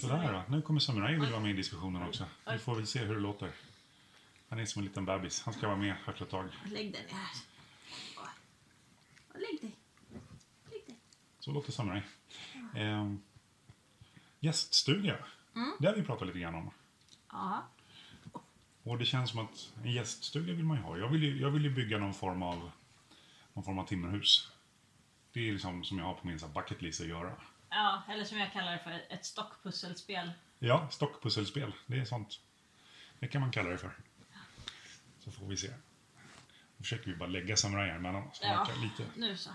Sådär då. Nu kommer Samurai vilja vara med i diskussionen också. Vi får väl se hur det låter. Han är som en liten bebis. Han ska vara med efter ett tag. Lägg dig ner här. Ja. Lägg dig. Lägg dig. Så låter Samurai. Ehm, gäststuga. Det har vi pratat lite grann om. Ja. Och det känns som att en gäststuga vill man ju ha. Jag vill ju, jag vill ju bygga någon form av, någon form av timmerhus. Det är liksom som jag har på min så här bucket list att göra. Ja, eller som jag kallar det för, ett stockpusselspel. Ja, stockpusselspel. Det är sånt. Det kan man kalla det för. Så får vi se. Nu försöker vi bara lägga samurajer mellan oss. Han Ja. verkar Lite, Nu så.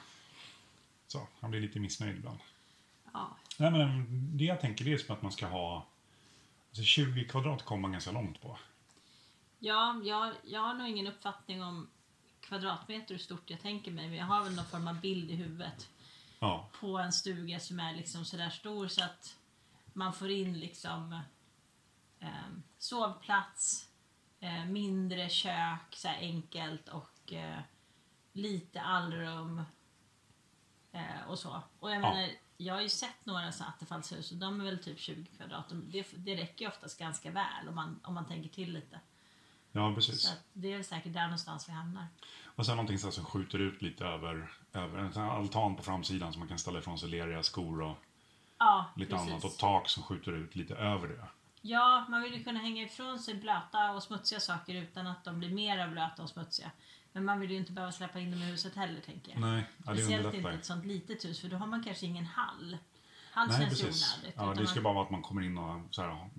så, han blir lite missnöjd ibland. Ja. Nej, men mm, det jag tänker det är som att man ska ha... Alltså 20 kvadrat kommer man ganska långt på. Ja, jag, jag har nog ingen uppfattning om kvadratmeter hur stort jag tänker mig, men jag har väl någon form av bild i huvudet Ja, på en stuga som är liksom sådär stor så att man får in liksom ehm, sovplats, eh, mindre kök, så här enkelt och eh, lite allrum eh, och så. Och jag Ja. menar, jag har ju sett några så här attefallshus och de är väl typ 20 kvadrat. Och Det, det räcker ju oftast ganska väl om man, om man tänker till lite. ja Så precis. att det är säkert där någonstans vi hamnar. Och sen någonting så här som skjuter ut lite över, över en sån här altan på framsidan som man kan ställa ifrån sig leriga skor och Ja, lite precis. annat. Och tak som skjuter ut lite över det. Ja, man vill ju kunna hänga ifrån sig blöta och smutsiga saker utan att de blir mer blöta och smutsiga. Men man vill ju inte behöva släppa in dem i huset heller, tänker jag. Nej, ja, det Speciellt inte underlättar. ett sånt litet hus, för då har man kanske ingen hall. Hall Nej, känns ju precis. onödigt. Ja, utan det ska man, bara vara att man kommer in och så här,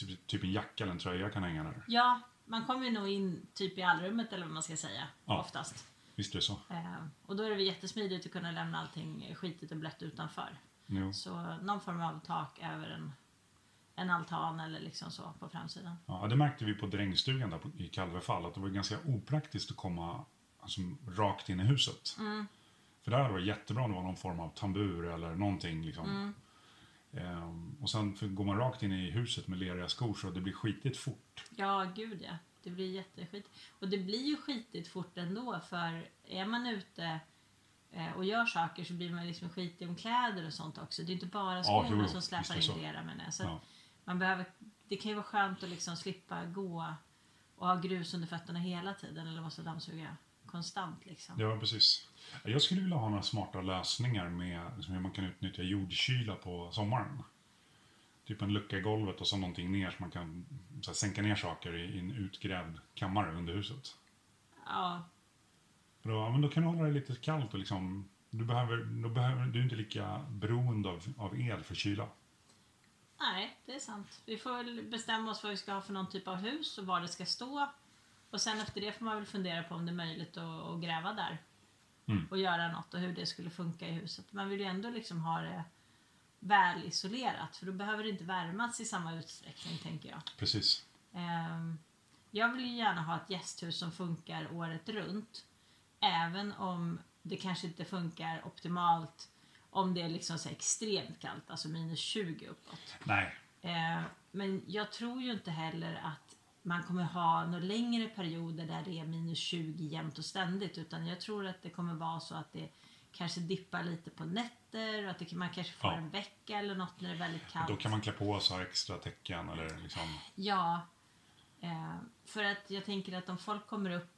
typ, typ en jacka eller en tröja kan hänga där. ja, man kommer ju nog in typ i allrummet eller vad man ska säga, Ja. oftast. Visst är det så? Eh, och då är det väl jättesmidigt att kunna lämna allting skitigt och blött utanför. Jo. Så någon form av tak över en, en altan eller liksom så på framsidan. Ja, det märkte vi på drängstugan där på- i Kalvefall, att det var ganska opraktiskt att komma alltså, rakt in i huset. För där hade det varit jättebra om det var någon form av tambur eller någonting. Liksom. Ehm, och sen för, går man rakt in i huset med leriga skor så det blir skitigt fort. Ja, gud ja. Det blir jätteskit. Och det blir ju skitigt fort ändå för är man ute eh, och gör saker så blir man liksom skitig om kläder och sånt också. Det är inte bara skorna jo, jo. som Visst är släpar det in så. det era, menar jag. Så Ja. att man behöver, det kan ju vara skönt att liksom slippa gå och ha grus under fötterna hela tiden eller måste dammsuga konstant liksom. Ja, precis. Jag skulle vilja ha några smarta lösningar med liksom, hur man kan utnyttja jordkyla på sommaren. Typ en lucka i golvet och så någonting ner så man kan så här, sänka ner saker i, i en utgrävd kammare under huset. Ja, För Då, ja, men då kan du hålla det lite kallt och liksom, du, behöver, då behöver, du är inte lika beroende av, av el för kyla. Nej, det är sant. Vi får väl bestämma oss vad vi ska ha för någon typ av hus och var det ska stå. Och sen efter det får man väl fundera på om det är möjligt att, att gräva där. Mm. Och göra något och hur det skulle funka i huset. Man vill ju ändå liksom ha det väl isolerat för då behöver det inte värmas i samma utsträckning tänker jag. Precis. Ehm, jag vill ju gärna ha ett gästhus som funkar året runt. Även om det kanske inte funkar optimalt om det är liksom så här extremt kallt, alltså minus 20 uppåt. Nej. Eh, men jag tror ju inte heller att man kommer ha några längre perioder där det är minus 20 jämt och ständigt. Utan jag tror att det kommer vara så att det kanske dippar lite på nätter och att det, kan- man kanske får Ja. en vecka eller något när det är väldigt Då kallt. kan man klä på så här extra täcken eller liksom, Ja. Eh, för att jag tänker att om folk kommer upp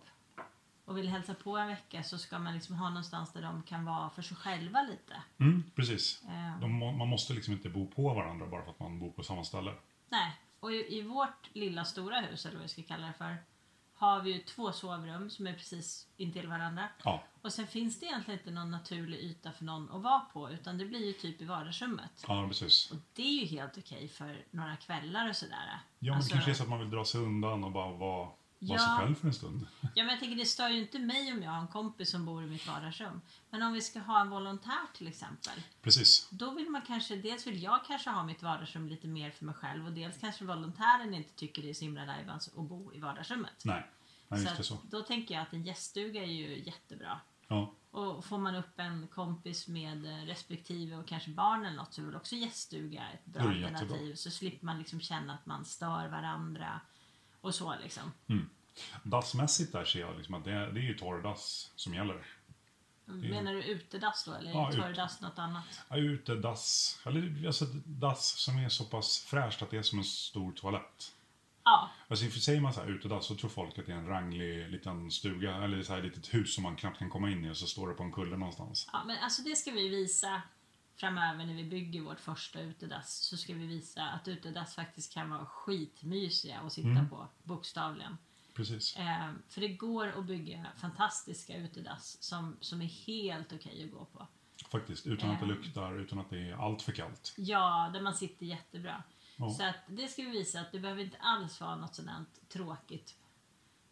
och vill hälsa på en vecka så ska man liksom ha någonstans där de kan vara för sig själva lite. mm, precis. Eh, De, må- man måste liksom inte bo på varandra bara för att man bor på samma ställe. Nej, och i, i vårt lilla stora hus, eller vad vi ska kalla det för, har vi ju två sovrum som är precis intill varandra. Ja, Och sen finns det egentligen inte någon naturlig yta för någon att vara på, utan det blir ju typ i vardagsrummet. ja precis. Och det är ju helt okej för några kvällar och sådär. Ja, men Alltså- det kanske är så att man vill dra sig undan och bara vara, vara sig Ja. själv för en stund. Ja, men jag tänker det stör ju inte mig om jag har en kompis som bor i mitt vardagsrum. Men om vi ska ha en volontär till exempel, Precis. då vill man kanske, dels vill jag kanske ha mitt vardagsrum lite mer för mig själv och dels kanske volontären inte tycker det är så himla lajbans att bo i vardagsrummet. Nej, Nej Så visst är det så. att Då tänker jag att en gäststuga är ju jättebra. Ja, Och får man upp en kompis med eh, respektive och kanske barn eller något så är väl också gäststuga ett bra Då är det alternativ. jättebra. Så slipper man liksom känna att man stör varandra och så liksom. dassmässigt där ser jag liksom att det, det är ju torrdass som gäller. Det är- Menar du utedass då eller Ja, tar ut- du dass något annat? Ja, utedass, eller alltså dass som är så pass fräscht att det är som en stor toalett. Ja, Alltså för säger man så här utedass så tror folk att det är en ranglig liten stuga eller så här litet hus som man knappt kan komma in i och så står det på en kulle någonstans. ja, men alltså det ska vi visa framöver när vi bygger vårt första utedass. Så ska vi visa att utedass faktiskt kan vara skitmysiga att sitta Mm. på, bokstavligen. Precis. Eh, för det går att bygga fantastiska utedass som, som är helt okej att gå på. Faktiskt. Utan att det Eh. luktar, utan att det är allt för kallt. Ja, där man sitter jättebra. Ja. Så att det ska vi visa att det behöver inte alls vara något sådant tråkigt.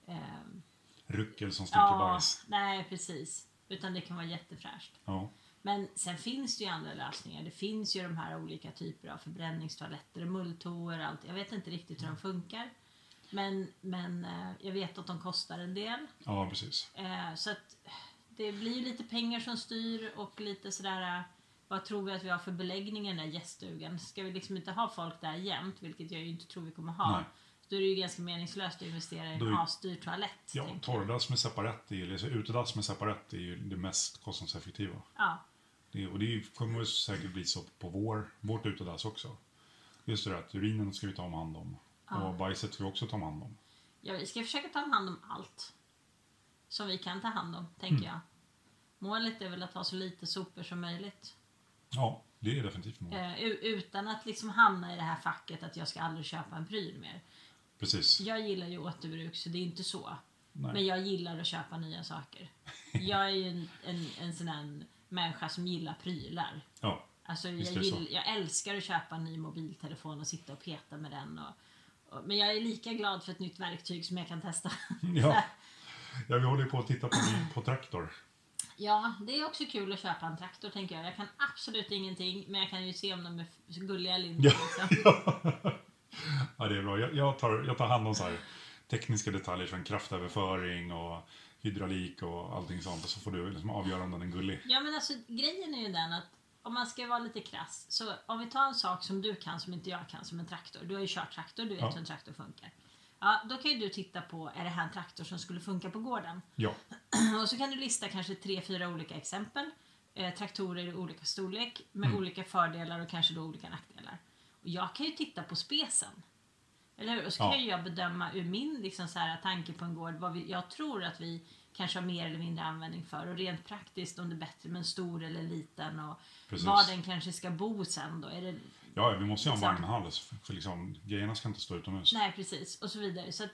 Ehm, Ruckel som stinker ja, bajs. nej precis. Utan det kan vara jättefräscht. Ja. Men sen finns det ju andra lösningar. Det finns ju de här olika typer av förbränningstoaletter och mulltoor och allt. Jag vet inte riktigt hur de funkar. Men, men eh, jag vet att de kostar en del. ja, precis. Eh, så att det blir ju lite pengar som styr och lite sådär eh, vad tror vi att vi har för beläggning i den här gäststugan? Ska vi liksom inte ha folk där jämt, vilket jag ju inte tror vi kommer ha. Nej. Då är det ju ganska meningslöst att investera i Då en är- asdyr toalett. Ja, tänker jag. torrdass med separett, är- eller så utedass med separett är ju det mest kostnadseffektiva. ja, Det, och det kommer ju säkert bli så på vår, vårt utedass också. Just det där att urinen ska vi ta om hand om. Och bajset ska vi också ta om hand om. ja, vi ska försöka ta hand om allt som vi kan ta hand om, tänker Mm. jag. Målet är väl att ha så lite sopor som möjligt. Ja, det är definitivt målet. Eh, u- utan att liksom hamna i det här facket att jag ska aldrig köpa en pryl mer. Precis. Jag gillar ju återbruk så det är inte så. Nej. Men jag gillar att köpa nya saker. Jag är ju en, en, en sån här människa som gillar prylar. Ja, Alltså jag, Visst är det så. gill, jag älskar att köpa en ny mobiltelefon och sitta och peta med den. Och, och, men jag är lika glad för ett nytt verktyg som jag kan testa. Ja. ja, vi håller ju på att titta på, en ny- på traktor. ja, det är också kul att köpa en traktor tänker jag. Jag kan absolut ingenting men jag kan ju se om de är f- gulliga eller inte. Ja. Liksom. Ja, det är bra. Jag, jag, tar, jag tar hand om så här tekniska detaljer som kraftöverföring och hydraulik och allting sånt. Och så får du liksom avgöra om den är gullig. Ja men alltså grejen är ju den att om man ska vara lite krass, så om vi tar en sak som du kan som inte jag kan som en traktor. Du har ju kört traktor, du vet Ja. hur en traktor funkar. Ja, då kan ju du titta på, är det här en traktor som skulle funka på gården? Ja, Och så kan du lista kanske tre, fyra olika exempel. Eh, traktorer i olika storlek med Mm. olika fördelar och kanske då olika nackdelar. Och jag kan ju titta på specen. Eller hur? Och så Ja. kan ju jag bedöma ur min liksom, så här, tanke på en gård vad vi, jag tror att vi kanske har mer eller mindre användning för. Och rent praktiskt om det är bättre med en stor eller liten. Och Precis. var den kanske ska bo sen då. Är det, ja vi måste ju ha en Exakt. vagnhall. För, för liksom, grejerna ska inte stå utomhus. nej precis. Och så vidare. Så att,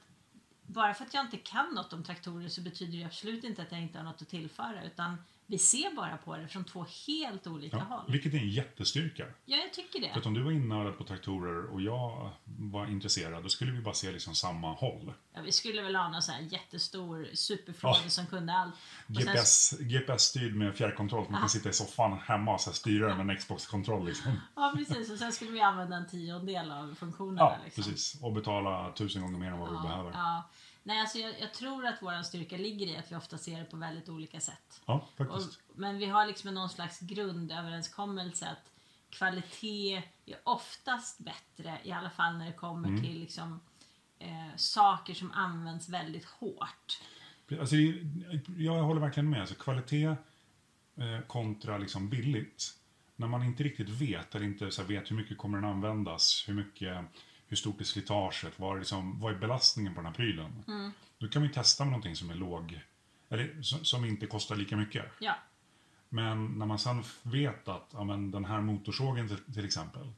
bara för att jag inte kan något om traktorer så betyder det absolut inte att jag inte har något att tillföra. Utan vi ser bara på det från två helt olika Ja, håll. vilket är en jättestyrka. Ja, jag tycker För det. att om du var innördad på traktorer och jag var intresserad, då skulle vi bara se liksom samma håll. Ja, vi skulle väl ha någon sån här jättestor superfråga Ja. som kunde allt. Och sen- GPS, GPS-styrd med fjärrkontroll, så man kan sitta i soffan hemma och så här styra den med en Xbox-kontroll. Liksom. ja, precis. Och sen skulle vi använda en tiondel av funktionerna. Ja, liksom. precis. Och betala tusen gånger mer än vad vi behöver. Ja, Ja. Nej, alltså jag, jag tror att vår styrka ligger i att vi ofta ser det på väldigt olika sätt. Och, faktiskt. men vi har liksom någon slags grundöverenskommelse att kvalitet är oftast bättre, i alla fall när det kommer till liksom, eh, saker som används väldigt hårt. Alltså, det är- jag håller verkligen med. Alltså, kvalitet eh, kontra liksom billigt. När man inte riktigt vet, eller inte så här, vet hur mycket kommer den användas, hur mycket hur stort är slitaget, vad är, liksom, vad är belastningen på den här prylen? Då kan man ju testa med någonting som är låg, eller som, som inte kostar lika mycket. Ja, Men när man sen vet att ja, men den här motorsågen till, till exempel,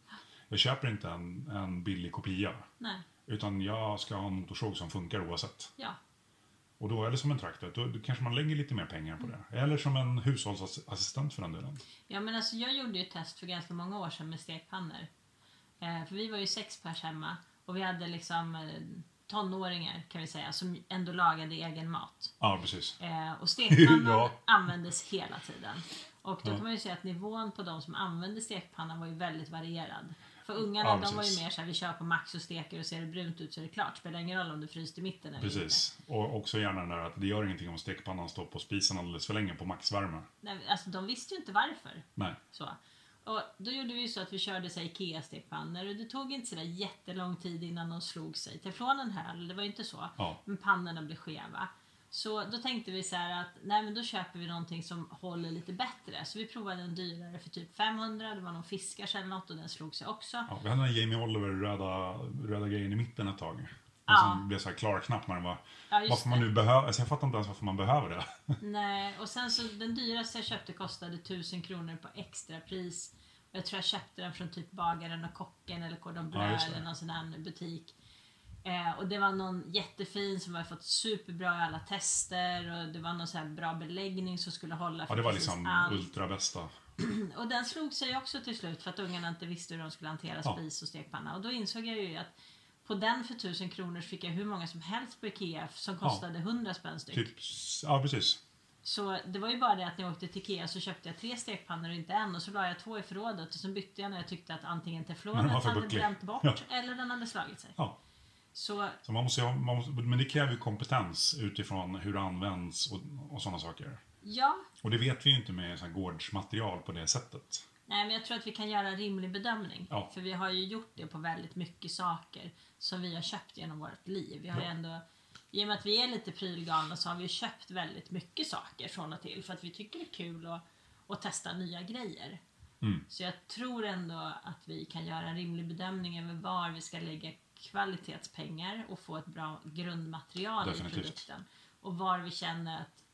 jag köper inte en, en billig kopia, nej, utan jag ska ha en motorsåg som funkar oavsett. ja. Och då är det som en traktor, då, då kanske man lägger lite mer pengar på det. Mm. Eller som en hushållsassistent för den delen. Ja, men alltså, jag gjorde ju ett test för ganska många år sedan med stekpannor. Eh, för vi var ju sex pers hemma och vi hade liksom eh, tonåringar kan vi säga som ändå lagade egen mat. Ja, precis. Eh, och stekpannan Ja. användes hela tiden. Och då Ja. kan man ju se att nivån på de som använde stekpannan var ju väldigt varierad. För ungarna Ja, de var ju precis. mer såhär, vi kör på max och steker och ser det brunt ut så är det klart. Spelar ingen roll om det fryst i mitten eller inte. Precis. Och också gärna den där att det gör ingenting om stekpannan står på spisen alldeles för länge på maxvärme. Nej, alltså de visste ju inte varför. Nej. Så. Och då gjorde vi ju så att vi körde så här IKEA-stekpannor och det tog inte sådär jättelång tid innan de slog sig. Teflonen höll, det var ju inte så. Ja. Men pannorna blev skeva. Så då tänkte vi så här att nej men då köper vi någonting som håller lite bättre. Så vi provade en dyrare för typ 500, det var någon fiskars eller något och den slog sig också. Ja, vi hade den här Jamie Oliver röda, röda grejen i mitten ett tag. Och Ja. sen blev det så här klarknapp när den var... Ja, just Varför man nu behöver... Alltså jag fattar inte ens varför man behöver det. Nej, och sen så den dyraste jag köpte kostade 1000 kronor på extrapris. Och Jag tror jag köpte den från typ bagaren och kocken eller Cordon Bleu Ja, just det. eller någon sån här butik. Eh, och det var någon jättefin som hade fått superbra i alla tester och det var någon så här bra beläggning som skulle hålla Ja, för det var precis liksom allt. ultra bästa. Och den slog sig också till slut för att ungarna inte visste hur de skulle hantera Ja. spis och stekpanna. Och då insåg jag ju att på den för 1000 kronor så fick jag hur många som helst på IKEA som kostade 100 spänn styck. Typ... Ja, precis. Så det var ju bara det att när jag åkte till Ikea så köpte jag tre stekpannor och inte en och så la jag två i förrådet och sen bytte jag när jag tyckte att antingen Men teflonen den var för hade bucklig. bränt bort Ja. eller den hade slagit sig. Ja. Så Så man måste, ju ha- man måste, men det kräver ju kompetens utifrån hur det används och, och sådana saker. ja, Och det vet vi ju inte med så här gårdsmaterial på det sättet. nej men jag tror att vi kan göra en rimlig bedömning. Ja. För vi har ju gjort det på väldigt mycket saker som vi har köpt genom vårt liv. Vi har ju Ja. ändå, I och med att vi är lite prylgalna så har vi ju köpt väldigt mycket saker från och till för att vi tycker det är kul att, att testa nya grejer. Mm. Så jag tror ändå att vi kan göra en rimlig bedömning över var vi ska lägga kvalitetspengar och få ett bra grundmaterial i Definitivt. produkten. Och var vi känner att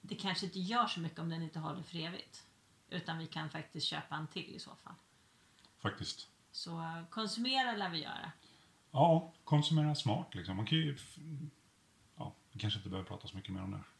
det kanske inte gör så mycket om den inte håller för evigt. Utan vi kan faktiskt köpa en till i så fall. Faktiskt. Så eh, konsumera lär vi göra. Ja, konsumera smart liksom. Man kan ju... f- Ja, vi kanske inte behöver prata så mycket mer om det.